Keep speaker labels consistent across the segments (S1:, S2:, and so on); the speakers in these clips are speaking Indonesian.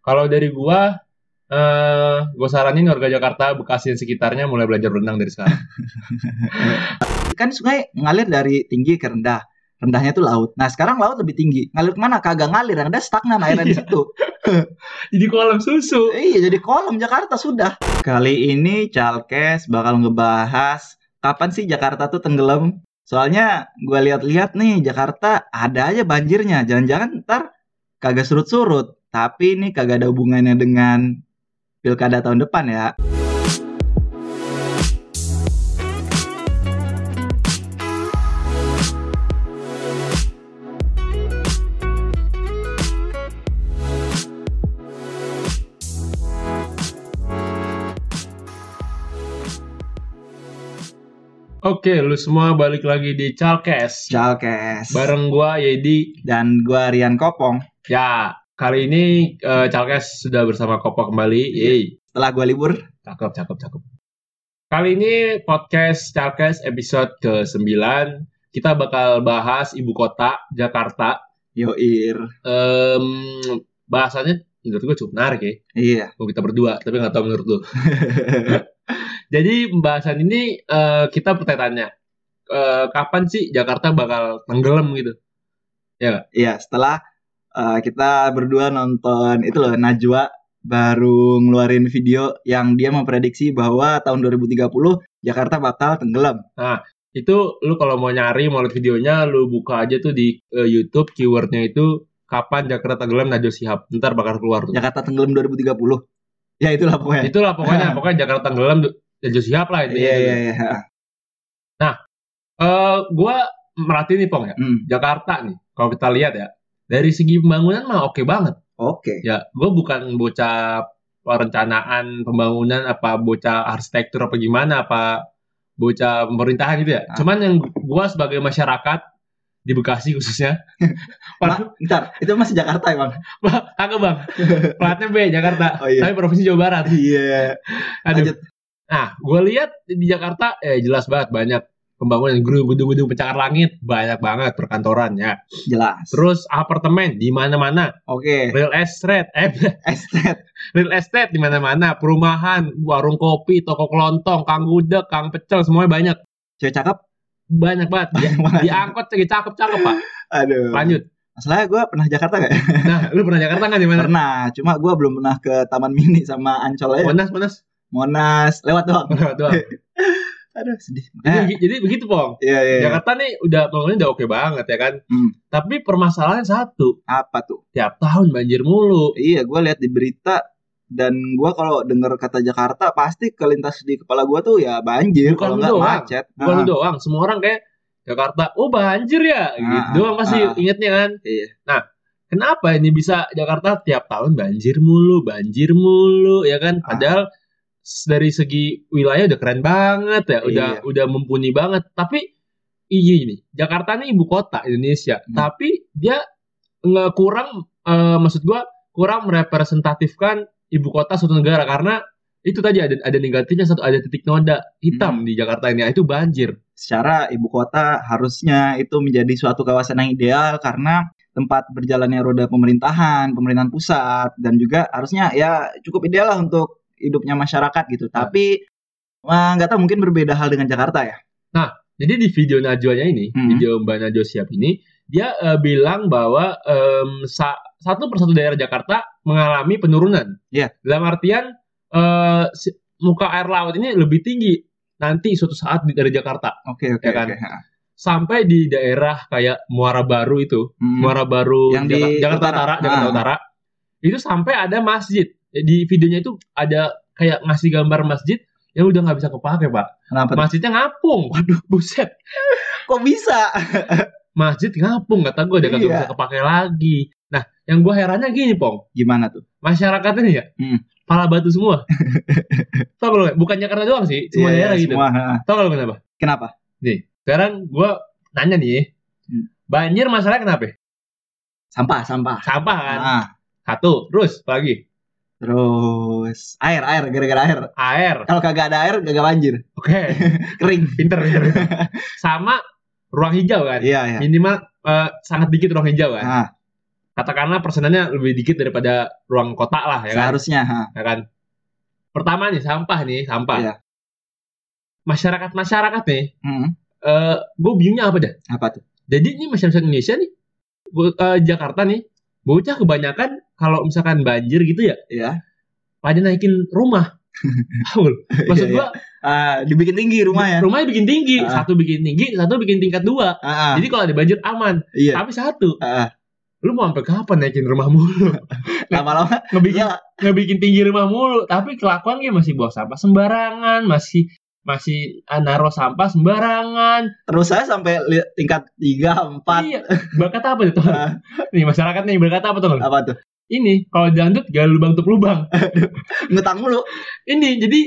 S1: Kalau dari gua, eh gua saranin warga Jakarta, Bekasi dan sekitarnya mulai belajar berenang dari sekarang.
S2: kan sungai ngalir dari tinggi ke rendah rendahnya itu laut. Nah sekarang laut lebih tinggi. Ngalir kemana? Kagak ngalir. Yang ada stagnan airnya di situ.
S1: Jadi kolam susu.
S2: Eh, Iya jadi kolam Jakarta sudah. Kali ini Chalkes bakal ngebahas kapan sih Jakarta tuh tenggelam. Soalnya gue lihat-lihat nih Jakarta ada aja banjirnya. Jangan-jangan ntar kagak surut-surut. Tapi ini kagak ada hubungannya dengan pilkada tahun depan ya.
S1: Oke, lu semua balik lagi di Chalkes.
S2: Chalkes.
S1: Bareng gua Yedi.
S2: Dan gue Rian Kopong.
S1: Ya, kali ini eh, Chalkes sudah bersama Kopo kembali. Yeay.
S2: Setelah gue libur.
S1: Cakep, cakep, cakep. Kali ini podcast Chalkes episode ke-9. Kita bakal bahas ibu kota, Jakarta.
S2: Yoir.
S1: Em, bahasanya menurut gue cukup menarik ya.
S2: Iya.
S1: Kalau kita berdua, tapi nggak tahu menurut lu. Jadi pembahasan ini eh, kita pertanyaannya. eh, kapan sih Jakarta bakal tenggelam gitu?
S2: Iya, setelah uh, kita berdua nonton itu loh Najwa baru ngeluarin video yang dia memprediksi bahwa tahun 2030 Jakarta bakal tenggelam.
S1: Itu lu kalau mau nyari, mau lihat videonya, lu buka aja tuh di eh, YouTube keywordnya itu kapan Jakarta tenggelam Najwa Shihab. Ntar bakal keluar tuh.
S2: Jakarta tenggelam 2030. Ya itulah pokoknya.
S1: Itulah pokoknya, pokoknya Jakarta tenggelam Najwa Shihab lah intinya. gitu.
S2: Iya iya iya.
S1: Eh, gua merhatiin nih Pong ya.
S2: Hmm,
S1: Jakarta nih, kalau kita lihat ya, dari segi pembangunan mah oke banget.
S2: Oke.
S1: Ya, gue bukan bocah perencanaan pembangunan apa bocah arsitektur apa gimana apa bocah pemerintahan gitu ya.
S2: Ah.
S1: Cuman yang gua sebagai masyarakat di Bekasi khususnya,
S2: Ma- Ntar, itu masih Jakarta emang.
S1: agak bang, platnya B Jakarta,
S2: Oh, iya.
S1: tapi provinsi Jawa Barat.
S2: Iya.
S1: Aduh.
S2: Lanjut.
S1: Nah, gue lihat di Jakarta eh jelas banget banyak pembangunan gedung- gedung-gedung pencakar langit banyak banget perkantoran ya.
S2: Jelas.
S1: Terus apartemen di mana-mana
S2: Oke.
S1: real estate, eh,
S2: Estet.
S1: real estate di mana-mana, perumahan, warung kopi, toko kelontong, kang gudeg, kang pecel, semuanya banyak,
S2: Cewek cakep.
S1: banyak banget. Di,
S2: Banget.
S1: diangkut lagi cakep-cakep pak.
S2: Aduh.
S1: Lanjut.
S2: Masalahnya gue pernah Jakarta gak? ya?
S1: Nah, lu pernah Jakarta nggak di mana?
S2: Pernah. Cuma gue belum pernah ke Taman Mini sama Ancol aja.
S1: Monas, Monas.
S2: Monas. Lewat doang.
S1: Lewat doang.
S2: Aduh sedih.
S1: Jadi,
S2: Eh,
S1: jadi begitu pong.
S2: Iya iya. iya.
S1: Jakarta nih udah bangunnya udah oke banget ya kan.
S2: Hmm.
S1: Tapi permasalahan satu,
S2: Apa tuh?
S1: tiap tahun banjir mulu.
S2: Iya, gue lihat di berita dan gue kalau dengar kata Jakarta pasti kelintas di kepala gue tuh ya banjir
S1: Bukan
S2: kalau nggak
S1: doang.
S2: macet.
S1: Bukan lu
S2: Ah,
S1: doang, semua orang kayak Jakarta, oh banjir ya, gitu
S2: Ah,
S1: doang pasti
S2: ah.
S1: ingetnya kan.
S2: Iya.
S1: Nah, kenapa ini bisa Jakarta tiap tahun banjir mulu, banjir mulu, ya kan?
S2: Ah.
S1: Padahal s- dari segi wilayah udah keren banget ya, udah
S2: Iya.
S1: udah mumpuni banget. Tapi iya ini, Jakarta nih ibu kota Indonesia,
S2: Hmm.
S1: tapi dia nggak kurang, eh, maksud gua kurang merepresentatifkan ibu kota suatu negara karena itu tadi ada ada negatifnya satu ada titik noda hitam di Jakarta ini Nah, itu banjir
S2: Secara ibu kota harusnya itu menjadi suatu kawasan yang ideal karena tempat berjalannya roda pemerintahan, pemerintahan pusat dan juga harusnya ya cukup ideal lah untuk hidupnya masyarakat gitu.
S1: Ah.
S2: Tapi wah, nggak tahu mungkin berbeda hal dengan Jakarta ya.
S1: Jadi di video Najwanya ini,
S2: Hmm.
S1: video Mbak Najwa Siap ini, dia eh, bilang bahwa em, sa- satu persatu daerah Jakarta mengalami penurunan.
S2: Iya.
S1: Dalam artian eh, si- muka air laut ini lebih tinggi nanti suatu saat di- dari Jakarta
S2: Oke
S1: Ya
S2: oke
S1: kan?
S2: oke. ha.
S1: sampai di daerah kayak Muara Baru itu,
S2: Hmm.
S1: Muara Baru
S2: Yang di
S1: Jaka- Jakarta
S2: utara.
S1: Utara, Jakarta
S2: Ah.
S1: Utara. Itu sampai ada masjid. Eh, Di videonya itu ada kayak ngasih gambar masjid yang udah nggak bisa kepake, Pak.
S2: Kenapa? tuh?
S1: Masjidnya ngapung. Waduh, buset.
S2: Kok bisa?
S1: masjid ngapung kata gue udah kagak
S2: Iya.
S1: bisa kepake lagi nah yang gue herannya gini pong
S2: Gimana tuh?
S1: masyarakat ini ya
S2: Hmm.
S1: pala batu semua tau gak lu, bukan Jakarta doang sih semua
S2: Iya,
S1: daerah
S2: iya,
S1: gitu
S2: semua, ha.
S1: tau gak lu kenapa
S2: Kenapa?
S1: sekarang gue nanya nih
S2: Hmm.
S1: banjir masalah kenapa
S2: Sampah, sampah.
S1: sampah kan
S2: Nah,
S1: satu terus pagi
S2: terus air, air, gara-gara air.
S1: air
S2: Kalau kagak ada air, kagak banjir.
S1: oke
S2: Kering.
S1: pinter pinter pinter. sama ruang hijau kan
S2: Iya, iya.
S1: minimal eh, sangat dikit ruang hijau kan
S2: Nah,
S1: katakanlah persenannya lebih dikit daripada ruang kota lah ya kan?
S2: Seharusnya, ha.
S1: Ya kan? Pertama nih sampah nih, sampah.
S2: Iya.
S1: Masyarakat-masyarakat nih,
S2: Mm,
S1: eh gue bingungnya apa dah?
S2: apa tuh?
S1: Jadi ini masyarakat Indonesia nih, bo- eh, Jakarta nih, bocah kebanyakan kalau misalkan banjir gitu ya,
S2: Iya.
S1: pada naikin rumah. Tahu lu? Maksud
S2: Iya,
S1: gua
S2: Ah, dibikin tinggi rumah ya.
S1: rumahnya bikin tinggi,
S2: Ah.
S1: satu bikin tinggi, satu bikin tingkat dua.
S2: Ah, ah,
S1: Jadi kalau ada banjir aman,
S2: iya.
S1: tapi satu.
S2: Ah, ah.
S1: Lu mau sampai kapan naikin rumah mulu?
S2: Lama-lama
S1: Ngebikin
S2: iya,
S1: ngebikin tinggi rumah mulu, tapi kelakuan dia masih buang sampah sembarangan, masih masih ah, naruh sampah sembarangan.
S2: terus saya sampai li- tingkat 3 4
S1: Iya. Berkata apa tuh? Tong?
S2: Ah.
S1: Nih masyarakat nih berkata apa tuh?
S2: apa tuh?
S1: Ini kalau dangdut gali lubang tutup lubang.
S2: Ngutang mulu.
S1: Ini jadi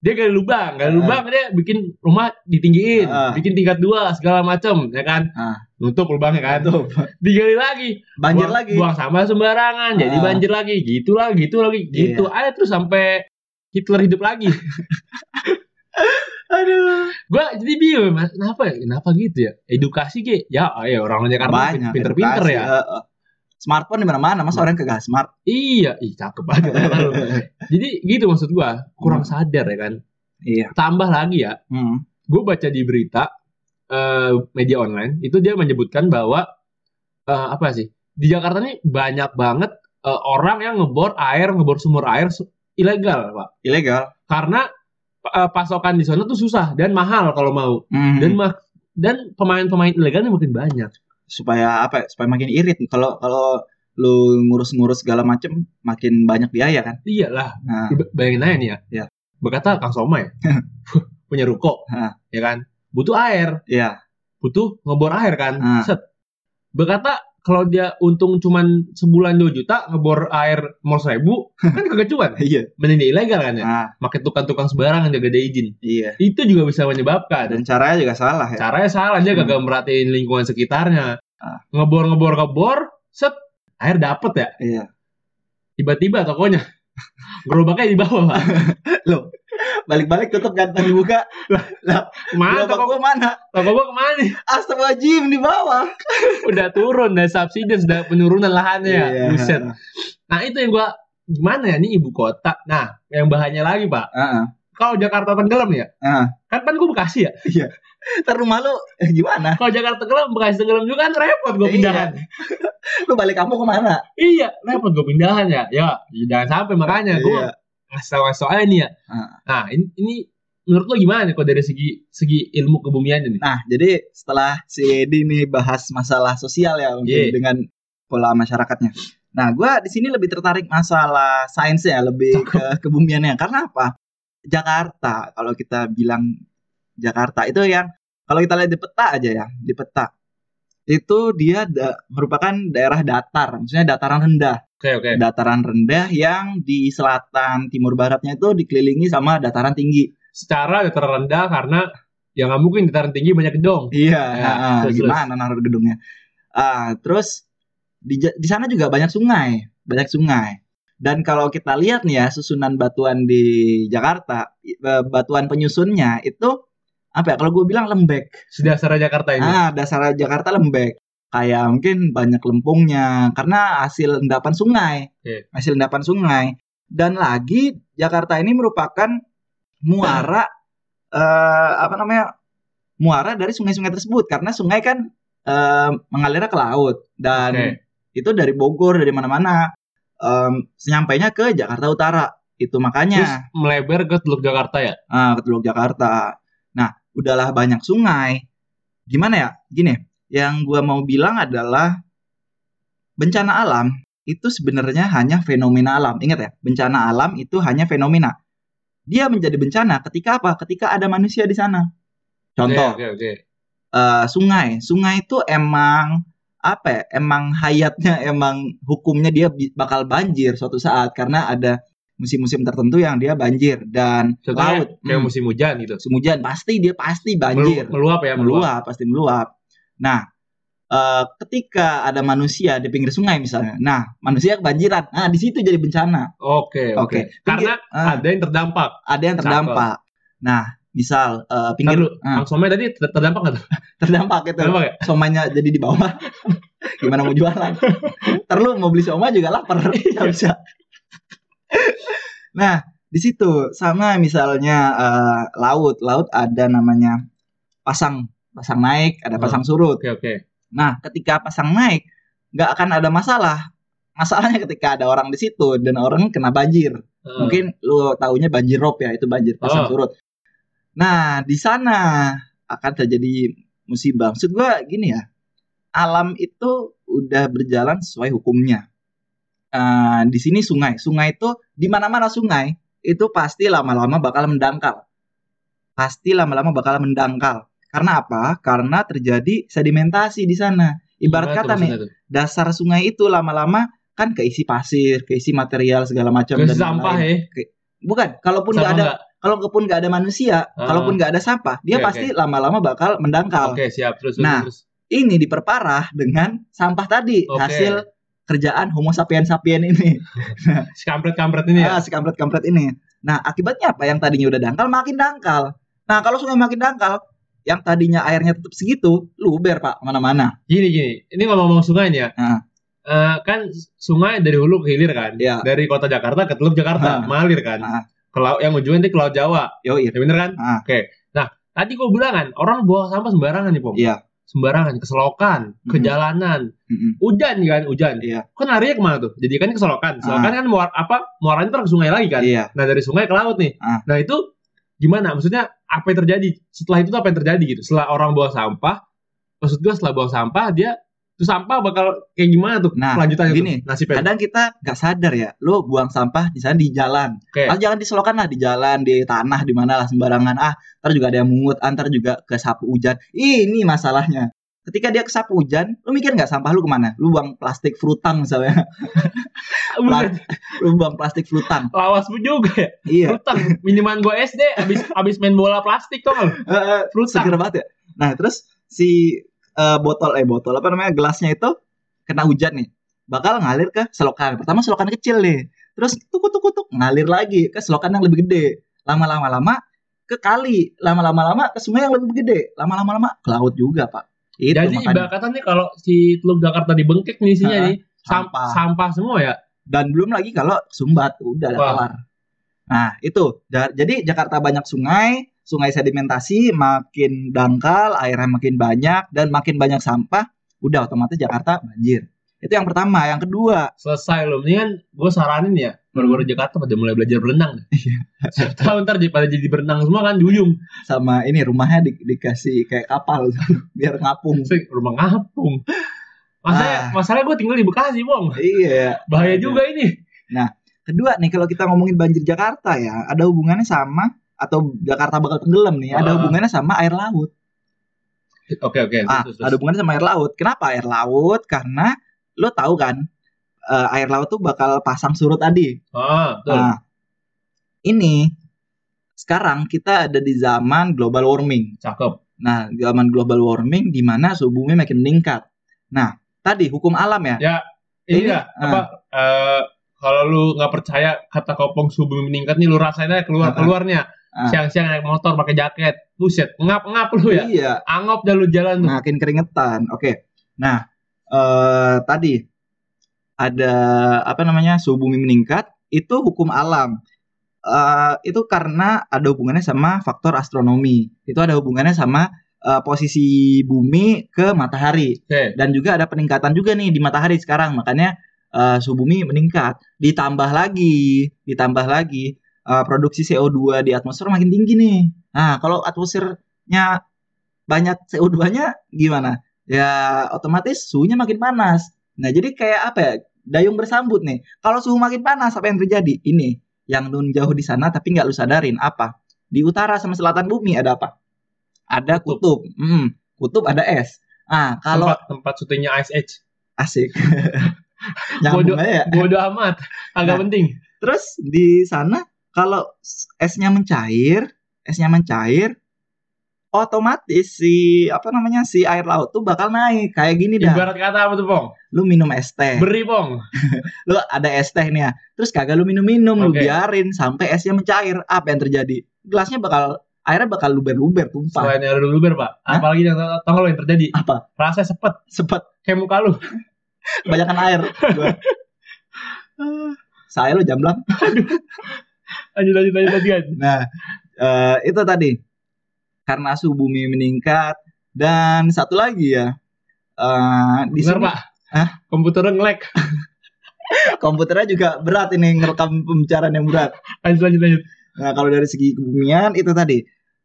S1: dia gali lubang, gali
S2: Ah.
S1: lubang dia bikin rumah ditinggiin,
S2: Ah.
S1: bikin tingkat dua segala macem, ya kan?
S2: Ah.
S1: Nutup lubangnya kan?
S2: Aduh,
S1: Digali lagi,
S2: banjir
S1: buang,
S2: lagi.
S1: buang sampah sembarangan jadi
S2: Ah. Iya.
S1: banjir lagi gitu lah gitu lagi gitu ada terus sampai Hitler hidup lagi
S2: Aduh.
S1: gue jadi bingung mas kenapa ya kenapa gitu ya edukasi ge ya ayo orang Jakarta
S2: Banyak
S1: pinter-pinter
S2: edukasi,
S1: ya
S2: heeh. Smartphone di mana-mana, masa orang kagak smart?
S1: iya ih cakep banget kata lu. jadi gitu maksud gue kurang
S2: Hmm.
S1: sadar ya kan
S2: Iya.
S1: tambah lagi ya
S2: Hmm.
S1: gue baca di berita eh, media online itu dia menyebutkan bahwa eh, apa sih di Jakarta nih banyak banget eh, orang yang ngebor air ngebor sumur air su- ilegal pak
S2: Ilegal.
S1: karena eh, pasokan di sana tuh susah dan mahal kalau mau
S2: Hmm.
S1: dan ma- dan pemain-pemain ilegalnya makin banyak
S2: supaya apa ya, supaya makin irit kalau kalau lu ngurus-ngurus segala macem makin banyak biaya kan
S1: iyalah
S2: nah
S1: Lu ba- bayangin aja nih ya,
S2: Iya.
S1: berkata Kang Somai punya ruko
S2: Hah.
S1: ya kan butuh air
S2: iya
S1: butuh ngebor air kan
S2: Hah.
S1: set berkata kalau dia untung cuman sebulan 2 juta ngebor air mau seribu kan kagak cuan
S2: iya
S1: mending dia ilegal kan ya
S2: nah
S1: makin tukang-tukang sembarangan jaga ada izin
S2: iya
S1: itu juga bisa menyebabkan
S2: dan caranya juga salah ya
S1: caranya salah dia kagak merhatiin lingkungan sekitarnya
S2: Ah.
S1: ngebor ngebor ngebor set air dapet ya
S2: iya
S1: tiba-tiba tokonya gerobaknya di bawah pak
S2: balik-balik tutup kan pas dibuka
S1: kemana
S2: gerobak
S1: Ah, toko
S2: gua mana
S1: toko gua kemana nih?
S2: astagfirullahaladzim di bawah
S1: udah turun dan subsidence udah penurunan lahannya ya
S2: Iya.
S1: buset nah itu yang gua gimana ya ini ibu kota nah yang bahannya lagi pak
S2: Heeh.
S1: kalau Jakarta tenggelam ya
S2: Heeh.
S1: kan kan gua Bekasi ya
S2: ntar rumah lu eh, gimana
S1: kalau Jakarta tenggelam Bekasi tenggelam juga kan repot gua
S2: Iya.
S1: pindahan
S2: lu balik kampung kemana
S1: iya repot gua pindahan ya ya jangan sampai makanya gua
S2: iya
S1: ngasih tau ngasih tau aja nih ya.
S2: Ah.
S1: Nah ini, ini menurut lo gimana nih kalau dari segi segi ilmu kebumiannya nih?
S2: nah jadi setelah si Edi nih bahas masalah sosial ya mungkin
S1: Iya.
S2: dengan pola masyarakatnya nah gua di sini lebih tertarik masalah sainsnya lebih ke kebumiannya karena apa Jakarta kalau kita bilang Jakarta itu yang kalau kita lihat di peta aja ya di peta itu dia da- merupakan daerah datar maksudnya dataran rendah
S1: Oke oke.
S2: dataran rendah yang di selatan timur baratnya itu dikelilingi sama dataran tinggi
S1: Secara dataran rendah karena ya nggak mungkin dataran tinggi banyak gedong.
S2: Iya,
S1: Ya,
S2: ah,
S1: terus,
S2: gimana naruh gedungnya? Ah, terus di Ja- di sana juga banyak sungai, banyak sungai. Dan kalau kita lihat nih ya susunan batuan di Jakarta, i- eh, batuan penyusunnya itu apa ya? Kalau gue bilang lembek.
S1: Sudah secara Jakarta ini.
S2: Ah, dasar Jakarta lembek. Kayak mungkin banyak lempungnya karena hasil endapan sungai.
S1: Oke.
S2: Hasil endapan sungai. Dan lagi Jakarta ini merupakan muara eh, apa namanya? muara dari sungai-sungai tersebut karena sungai kan eh, mengalirnya ke laut dan
S1: Oke.
S2: itu dari Bogor dari mana-mana em, senyampainya ke Jakarta Utara itu makanya
S1: Terus melebar ke Teluk Jakarta ya.
S2: ah, ke Teluk Jakarta. Nah, udahlah banyak sungai. Gimana ya? Gini, yang gua mau bilang adalah bencana alam itu sebenarnya hanya fenomena alam. Ingat ya, bencana alam itu hanya fenomena. Dia menjadi bencana ketika apa? Ketika ada manusia di sana. Contoh,
S1: Oke oke. oke. Iya.
S2: eh, sungai. Sungai itu emang apa ya? Emang hayatnya, emang hukumnya dia bi- bakal banjir suatu saat karena ada musim-musim tertentu yang dia banjir dan
S1: Contohnya
S2: laut.
S1: kayak
S2: Hmm
S1: musim hujan gitu.
S2: musim hujan pasti dia pasti
S1: Melu-
S2: banjir
S1: Meluap ya meluap.
S2: meluap pasti meluap nah eh, ketika ada manusia di pinggir sungai misalnya nah manusia kebanjiran nah di situ jadi bencana
S1: Oke oke.
S2: Oke.
S1: Karena
S2: Ah,
S1: ada yang terdampak.
S2: ada yang terdampak nah misal eh,
S1: Ntar
S2: pinggir
S1: dulu,
S2: ah,
S1: Kang Somai tadi ter- terdampak nggak tuh?
S2: terdampak gitu. itu
S1: Terdampak ya?
S2: somanya jadi di bawah Gimana mau jualan? Ntar lu mau beli siomay juga lapar. Nggak bisa. Nah, di situ sama misalnya eh, laut. Laut ada namanya pasang. Pasang naik, ada
S1: Hmm.
S2: pasang surut.
S1: Oke oke.
S2: Nah, ketika pasang naik, nggak akan ada masalah. Masalahnya ketika ada orang di situ dan orang kena banjir.
S1: Eh,
S2: Mungkin lu taunya banjir rob ya, itu banjir pasang
S1: Oh.
S2: surut. Nah, di sana akan terjadi musibah. Maksud gua gini ya. Alam itu udah berjalan sesuai hukumnya. Eh, di sini sungai. Sungai itu di mana-mana sungai itu pasti lama-lama bakal mendangkal. Pasti lama-lama bakal mendangkal. Karena apa? Karena terjadi sedimentasi di sana.
S1: gimana tuh
S2: Ibarat kata nih,
S1: Iya, maksudnya tuh?
S2: dasar sungai itu lama-lama kan keisi pasir, keisi material segala macam
S1: Kasih
S2: dan
S1: sampah
S2: lain-lain.
S1: ya.
S2: Bukan, kalaupun
S1: Sampah
S2: nggak ada,
S1: nggak?
S2: kalaupun nggak ada manusia,
S1: Ah.
S2: kalaupun nggak ada sampah, dia
S1: Oke,
S2: pasti lama-lama bakal mendangkal.
S1: Oke siap terus
S2: Nah.
S1: terus.
S2: Ini diperparah dengan sampah tadi,
S1: Oke.
S2: hasil kerjaan Homo sapiens sapien ini,
S1: Si kampret kampret ini ya.
S2: ah, si kampret-kampret ini. Nah, akibatnya apa? Yang tadinya udah dangkal makin dangkal. Nah, kalau sungai makin dangkal, yang tadinya airnya tetap segitu, luber pak mana-mana.
S1: Gini gini. Ini ngomong-ngomong sungai nih ya.
S2: Ah.
S1: Eh, kan sungai dari hulu ke hilir kan.
S2: Ya,
S1: Dari kota Jakarta ke Teluk Jakarta
S2: Ah.
S1: malir kan.
S2: Ah.
S1: Ke laut yang ujungnya nanti ke laut Jawa.
S2: yoi.
S1: Ya bener kan?
S2: Ah.
S1: Oke. Nah, tadi gue bilang kan, orang buang sampah sembarangan nih, Pom.
S2: Iya.
S1: Sembarangan, ke selokan, ke
S2: Mhm.
S1: jalanan.
S2: Mm-mm.
S1: Hujan kan, hujan.
S2: Iya.
S1: Kan larinya kemana tuh? Jadi kan ke selokan. Selokan kan muar, apa, muaranya ntar ke sungai lagi kan?
S2: Iya.
S1: Nah, dari sungai ke laut nih.
S2: Ah.
S1: Nah, itu gimana? Maksudnya, apa yang terjadi? Setelah itu tuh apa yang terjadi gitu? Setelah orang buang sampah, maksud gue setelah buang sampah, dia tuh sampah bakal kayak gimana tuh?
S2: Nah,
S1: Lanjutannya
S2: gini,
S1: tuh, nasibnya.
S2: kadang kita nggak sadar ya lo buang sampah di sana di jalan
S1: Oke.
S2: ah jangan di selokan lah di jalan di tanah di mana lah sembarangan ah ntar juga ada yang mungut ah, ntar juga ke sapu hujan ini masalahnya ketika dia ke sapu hujan lo mikir nggak sampah lu kemana lu buang plastik frutang misalnya
S1: Bukan,
S2: Iya. lu buang plastik frutang
S1: lawas pun juga ya.
S2: iya
S1: Utang, minuman gue SD, abis, abis main bola plastik tuh kan.
S2: Eh, eh,
S1: Frutang.
S2: seger banget ya nah terus si eh, botol eh botol apa namanya gelasnya itu kena hujan nih bakal ngalir ke selokan pertama selokan kecil nih terus tuk tuk tuk ngalir lagi ke selokan yang lebih gede lama-lama lama ke kali lama-lama lama ke sungai yang lebih gede lama-lama lama ke laut juga pak itu
S1: Jadi
S2: gitu makanya
S1: ibaratannya kalau si Teluk Jakarta dibengkek nih isinya
S2: Ha-ha.
S1: nih sam-
S2: Sampah.
S1: sampah semua ya.
S2: dan belum lagi kalau sumbat udah ada
S1: Wah.
S2: kelar nah itu Ja- jadi Jakarta banyak sungai sungai sedimentasi makin dangkal airnya makin banyak dan makin banyak sampah udah otomatis Jakarta banjir itu yang pertama yang kedua
S1: Selesai loh. Mendingan gue saranin ya baru-baru
S2: Hmm.
S1: Jakarta pada mulai belajar berenang.
S2: Iya.
S1: Siapa tahu ntar jadi- pada jadi berenang semua kan di ujung
S2: sama ini rumahnya di- dikasih kayak kapal biar ngapung
S1: Sih, rumah ngapung. Masalahnya,
S2: Hmm. Ah.
S1: masalahnya gue tinggal di Bekasi, Bong.
S2: iya
S1: Bahaya
S2: Aduh.
S1: juga ini.
S2: Kedua nih kalau kita ngomongin banjir Jakarta ya, ada hubungannya sama atau Jakarta bakal tenggelam nih, ada
S1: Ah.
S2: hubungannya sama air laut.
S1: Oke, oke. Gitu,
S2: Ah,
S1: terus, terus,
S2: ada
S1: terus.
S2: hubungannya sama air laut. Kenapa air laut? Karena lo tahu kan eh, air laut tuh bakal pasang surut tadi.
S1: Ah, betul.
S2: Nah, ini sekarang kita ada di zaman global warming.
S1: Cakep.
S2: Nah, zaman global warming di mana suhu bumi makin meningkat. Nah, tadi hukum alam ya.
S1: Ini
S2: Ini, ah,
S1: ya, apa eh, kalau lu nggak percaya kata kopong suhu bumi meningkat nih lu rasain aja keluar
S2: Ah.
S1: keluarnya
S2: Ah.
S1: siang-siang naik motor pakai jaket buset ngap ngap lu ya
S2: Iya, Nah,
S1: angop dah lu jalan tuh.
S2: makin keringetan. Oke. Nah, eh tadi ada apa namanya? suhu bumi meningkat, itu hukum alam. Eh itu karena ada hubungannya sama faktor astronomi. Itu ada hubungannya sama eh, posisi bumi ke matahari
S1: Oke.
S2: dan juga ada peningkatan juga nih di matahari sekarang. Makanya eh suhu bumi meningkat. Ditambah lagi, ditambah lagi eh, produksi CO2 di atmosfer makin tinggi nih. Nah, kalau atmosfernya banyak CO2-nya gimana? Ya otomatis suhunya makin panas. Nah, jadi kayak apa ya? Dayung bersambut nih. Kalau suhu makin panas apa yang terjadi? Ini yang nun jauh di sana tapi nggak lu sadarin apa? Di utara sama selatan bumi ada apa? Ada kutub. Hmm, kutub ada es. Ah, kalau
S1: tempat tempat syutingnya Ice Age.
S2: asik.
S1: Bodoh.
S2: Nyambung aja ya.
S1: Bodo amat, agak
S2: Nah.
S1: penting.
S2: Terus di sana kalau esnya mencair, esnya mencair otomatis si apa namanya si air laut tuh bakal naik kayak gini dah.
S1: Ibarat kata apa tuh, Pong?
S2: lu minum es teh,
S1: Beri, Pong.
S2: lu ada es teh nih ya, terus kagak lu minum-minum, lu
S1: Oke.
S2: biarin sampai esnya mencair, apa yang terjadi? Gelasnya bakal airnya bakal luber-luber tumpah.
S1: Selain yang luber pak,
S2: Hah?
S1: apalagi yang tau tau lo yang terjadi
S2: Apa?
S1: rasa sepet
S2: Sepet
S1: kayak muka lu.
S2: kebanyakan air. Gua. Ah, Saya lo jamblang.
S1: Lanjut lanjut lanjut lanjut. lanjut.
S2: Nah, eh, itu tadi karena suhu bumi meningkat dan satu lagi ya eh, di
S1: Bener
S2: sini
S1: pak.
S2: Hah?
S1: Komputernya nge-lag.
S2: komputernya juga berat ini ngerekam pembicaraan yang berat.
S1: Lanjut lanjut lanjut.
S2: Nah, kalau dari segi kebumian itu tadi.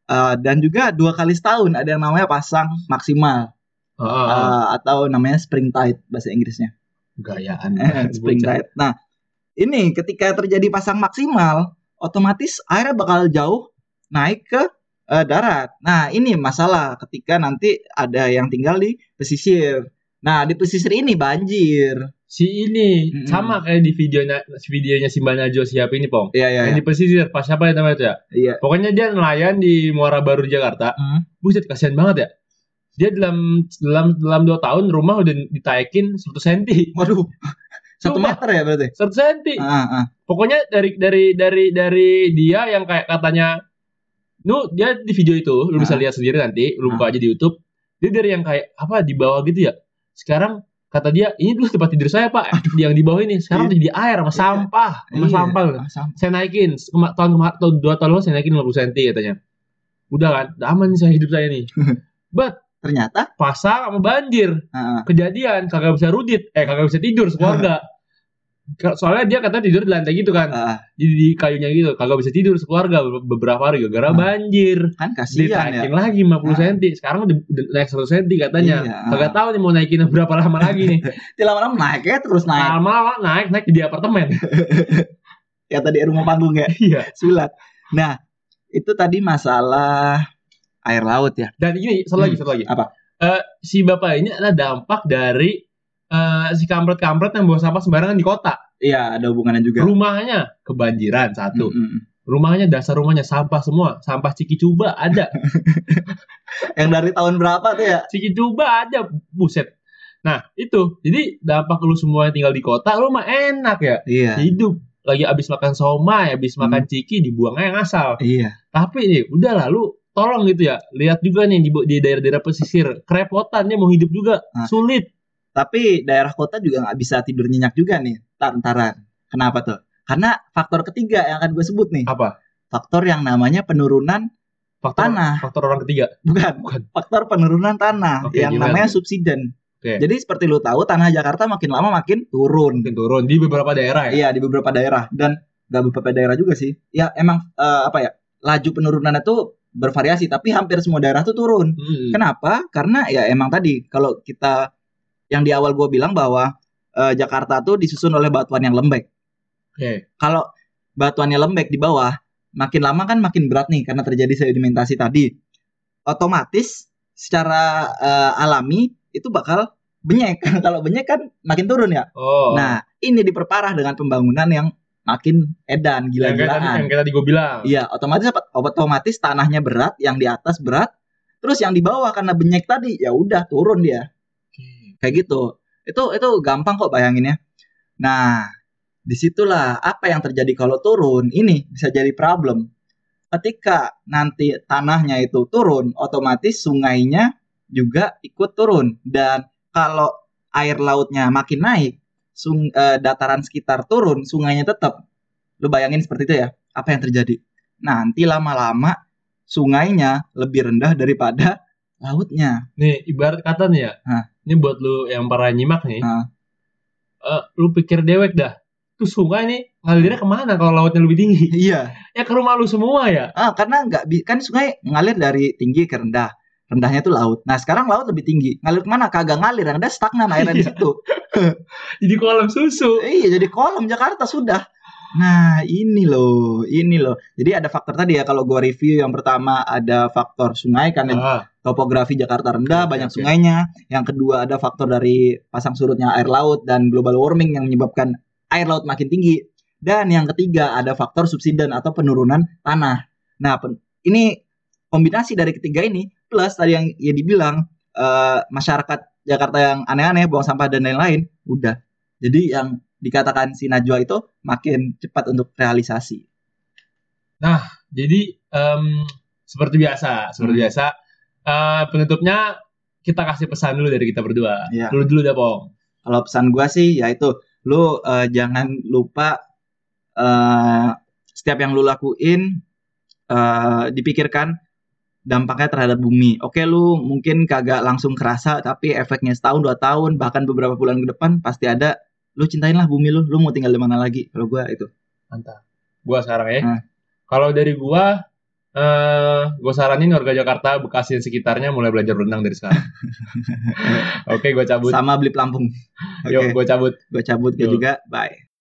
S2: Eh, dan juga dua kali setahun ada yang namanya pasang maksimal
S1: Oh, oh, oh.
S2: eh, atau namanya spring tide bahasa Inggrisnya.
S1: Gayaan.
S2: Eh, spring
S1: Bocah.
S2: tide. Nah, ini ketika terjadi pasang maksimal, otomatis airnya bakal jauh naik ke eh, darat. Nah, ini masalah ketika nanti ada yang tinggal di pesisir. Nah, di pesisir ini banjir.
S1: Si ini
S2: Mm-mm.
S1: sama kayak di videonya videonya si Mbak Najwa siap ini pong.
S2: Iya, iya,
S1: Yang
S2: iya.
S1: di pesisir pas siapa ya namanya itu ya?
S2: Iya.
S1: Pokoknya dia nelayan di Muara Baru Jakarta.
S2: Hmm.
S1: Buset kasihan banget ya. Dia dalam dalam dalam 2 tahun rumah udah ditaikin 100 cm.
S2: Waduh. Satu
S1: Sumpah.
S2: meter ya berarti.
S1: 100 cm.
S2: Ah, ah.
S1: Pokoknya dari dari dari dari dia yang kayak katanya Nu dia di video itu lu bisa lihat sendiri nanti, lu buka aja di YouTube. Dia dari yang kayak apa di bawah gitu ya. Sekarang kata dia ini dulu tempat tidur saya, Pak. Yang di bawah ini sekarang jadi air sama sampah, sama
S2: Iya.
S1: sampah.
S2: Ah, sampah.
S1: saya naikin Kema- tahun kemarin tahun dua tahun lalu saya naikin 50 cm katanya udah kan udah aman nih saya hidup saya nih
S2: ternyata
S1: pasang sama banjir
S2: uh,
S1: kejadian kagak bisa rudit eh kagak bisa tidur sekeluarga Ka- soalnya dia katanya tidur di lantai gitu kan
S2: uh,
S1: di, di kayunya gitu kagak bisa tidur sekeluarga be- beberapa hari gara-gara
S2: Ah.
S1: banjir
S2: kan kasihan ya
S1: ditaikin lagi 50
S2: Ah.
S1: cm sekarang udah, udah naik 100 cm katanya
S2: Iya, ah.
S1: kagak tahu nih mau naikin berapa lama lagi nih
S2: Dia lama-lama naik ya terus naik
S1: lama-lama naik naik di apartemen
S2: ya tadi rumah panggung ya
S1: iya
S2: sulat nah itu tadi masalah air laut ya
S1: Dan ini satu lagi, satu lagi.
S2: Apa?
S1: Eh, si bapak ini adalah dampak dari eh, si kampret-kampret yang bawa sampah sembarangan di kota.
S2: iya ada hubungannya juga
S1: Rumahnya kebanjiran
S2: Mm,
S1: satu.
S2: mm, mm.
S1: Rumahnya dasar rumahnya sampah semua, sampah Cikicuba ada.
S2: yang dari tahun berapa tuh ya
S1: Cikicuba ada, buset. Nah, itu. Jadi dampak lu semua yang tinggal di kota, lu mah enak ya.
S2: iya
S1: Hidup lagi abis makan somai, abis
S2: Hmm.
S1: makan ciki dibuangnya yang asal.
S2: iya
S1: Tapi nih, udah lah lu tolong gitu ya. Lihat juga nih di, di daerah-daerah pesisir, kerepotan dia mau hidup juga,
S2: Ah.
S1: sulit.
S2: tapi daerah kota juga nggak bisa tidur nyenyak juga nih tantaran kenapa tuh karena faktor ketiga yang akan gue sebut nih
S1: apa
S2: faktor yang namanya penurunan
S1: faktor
S2: tanah
S1: faktor orang ketiga
S2: bukan,
S1: Bukan.
S2: faktor penurunan tanah
S1: Oke,
S2: yang
S1: gimana
S2: namanya
S1: tuh?
S2: subsiden
S1: Oke.
S2: jadi seperti lu tahu tanah Jakarta makin lama makin turun
S1: mungkin turun di beberapa daerah ya
S2: Iya di beberapa daerah dan nggak beberapa daerah juga sih. Ya emang eh, apa ya laju penurunannya tuh bervariasi tapi hampir semua daerah tuh turun.
S1: Hmm.
S2: Kenapa? Karena ya emang tadi kalau kita yang di awal gue bilang bahwa eh, Jakarta tuh disusun oleh batuan yang lembek.
S1: oke
S2: Kalau batuannya lembek di bawah, makin lama kan makin berat nih karena terjadi sedimentasi tadi. Otomatis secara eh, alami itu bakal benyek. kalau benyek kan makin turun ya.
S1: oh
S2: Nah, ini diperparah dengan pembangunan yang makin edan
S1: yang kayak tadi yang
S2: gila-gilaan.
S1: kayak tadi gue bilang
S2: Iya, otomatis apa? Otomatis tanahnya berat, yang di atas berat, terus yang di bawah karena benyek tadi ya udah turun dia.
S1: Oke.
S2: Kayak gitu. Itu itu gampang kok bayanginnya. Nah, disitulah apa yang terjadi kalau turun ini bisa jadi problem. Ketika nanti tanahnya itu turun, otomatis sungainya juga ikut turun dan kalau air lautnya makin naik, sung, eh, dataran sekitar turun, sungainya tetap. Lu bayangin seperti itu ya, apa yang terjadi? Nanti lama-lama sungainya lebih rendah daripada lautnya.
S1: nih ibarat kata nih ya
S2: Hah.
S1: ini buat lu yang para nyimak nih
S2: Hah.
S1: Eh, lu pikir dewek dah tuh sungai nih ngalirnya kemana kalau lautnya lebih tinggi
S2: Iya,
S1: ya ke rumah lu semua ya
S2: ah, karena nggak bi- kan sungai ngalir dari tinggi ke rendah, rendahnya itu laut. Nah sekarang laut lebih tinggi, ngalir kemana? Kagak ngalir, yang ada stagnan airnya di
S1: Iya.
S2: situ.
S1: jadi kolam susu
S2: Iya jadi kolam Jakarta sudah. Nah ini loh, ini loh. Jadi ada faktor tadi ya kalau gua review yang pertama ada faktor sungai kan karena
S1: Ah,
S2: topografi Jakarta rendah,
S1: Oke,
S2: banyak
S1: oke.
S2: sungainya. Yang kedua ada faktor dari pasang surutnya air laut dan global warming yang menyebabkan air laut makin tinggi. Dan yang ketiga ada faktor subsiden atau penurunan tanah. Nah, pen- ini kombinasi dari ketiga ini plus tadi yang ya dibilang eh, masyarakat Jakarta yang aneh-aneh buang sampah dan lain-lain, udah. Jadi yang dikatakan si Najwa itu makin cepat untuk realisasi.
S1: jadi em, seperti biasa, seperti
S2: Hmm.
S1: biasa. Eh, penutupnya kita kasih pesan dulu dari kita berdua.
S2: Iya.
S1: Dulu dulu dah, Pong.
S2: Kalau pesan gua sih yaitu lu eh, jangan lupa eh setiap yang lu lakuin eh dipikirkan dampaknya terhadap bumi. Oke lu mungkin kagak langsung kerasa tapi efeknya setahun dua tahun bahkan beberapa bulan ke depan pasti ada. Lu cintainlah bumi lu. Lu mau tinggal di mana lagi? Kalau gua itu.
S1: Mantap. Gua sekarang ya.
S2: Hmm.
S1: Kalau dari gua eh gua saranin warga Jakarta, Bekasi dan sekitarnya mulai belajar berenang dari sekarang. Oke, gua cabut.
S2: Sama beli pelampung. Oke.
S1: Yuk, gua cabut.
S2: Gua cabut gua
S1: Yuk.
S2: juga. Bye.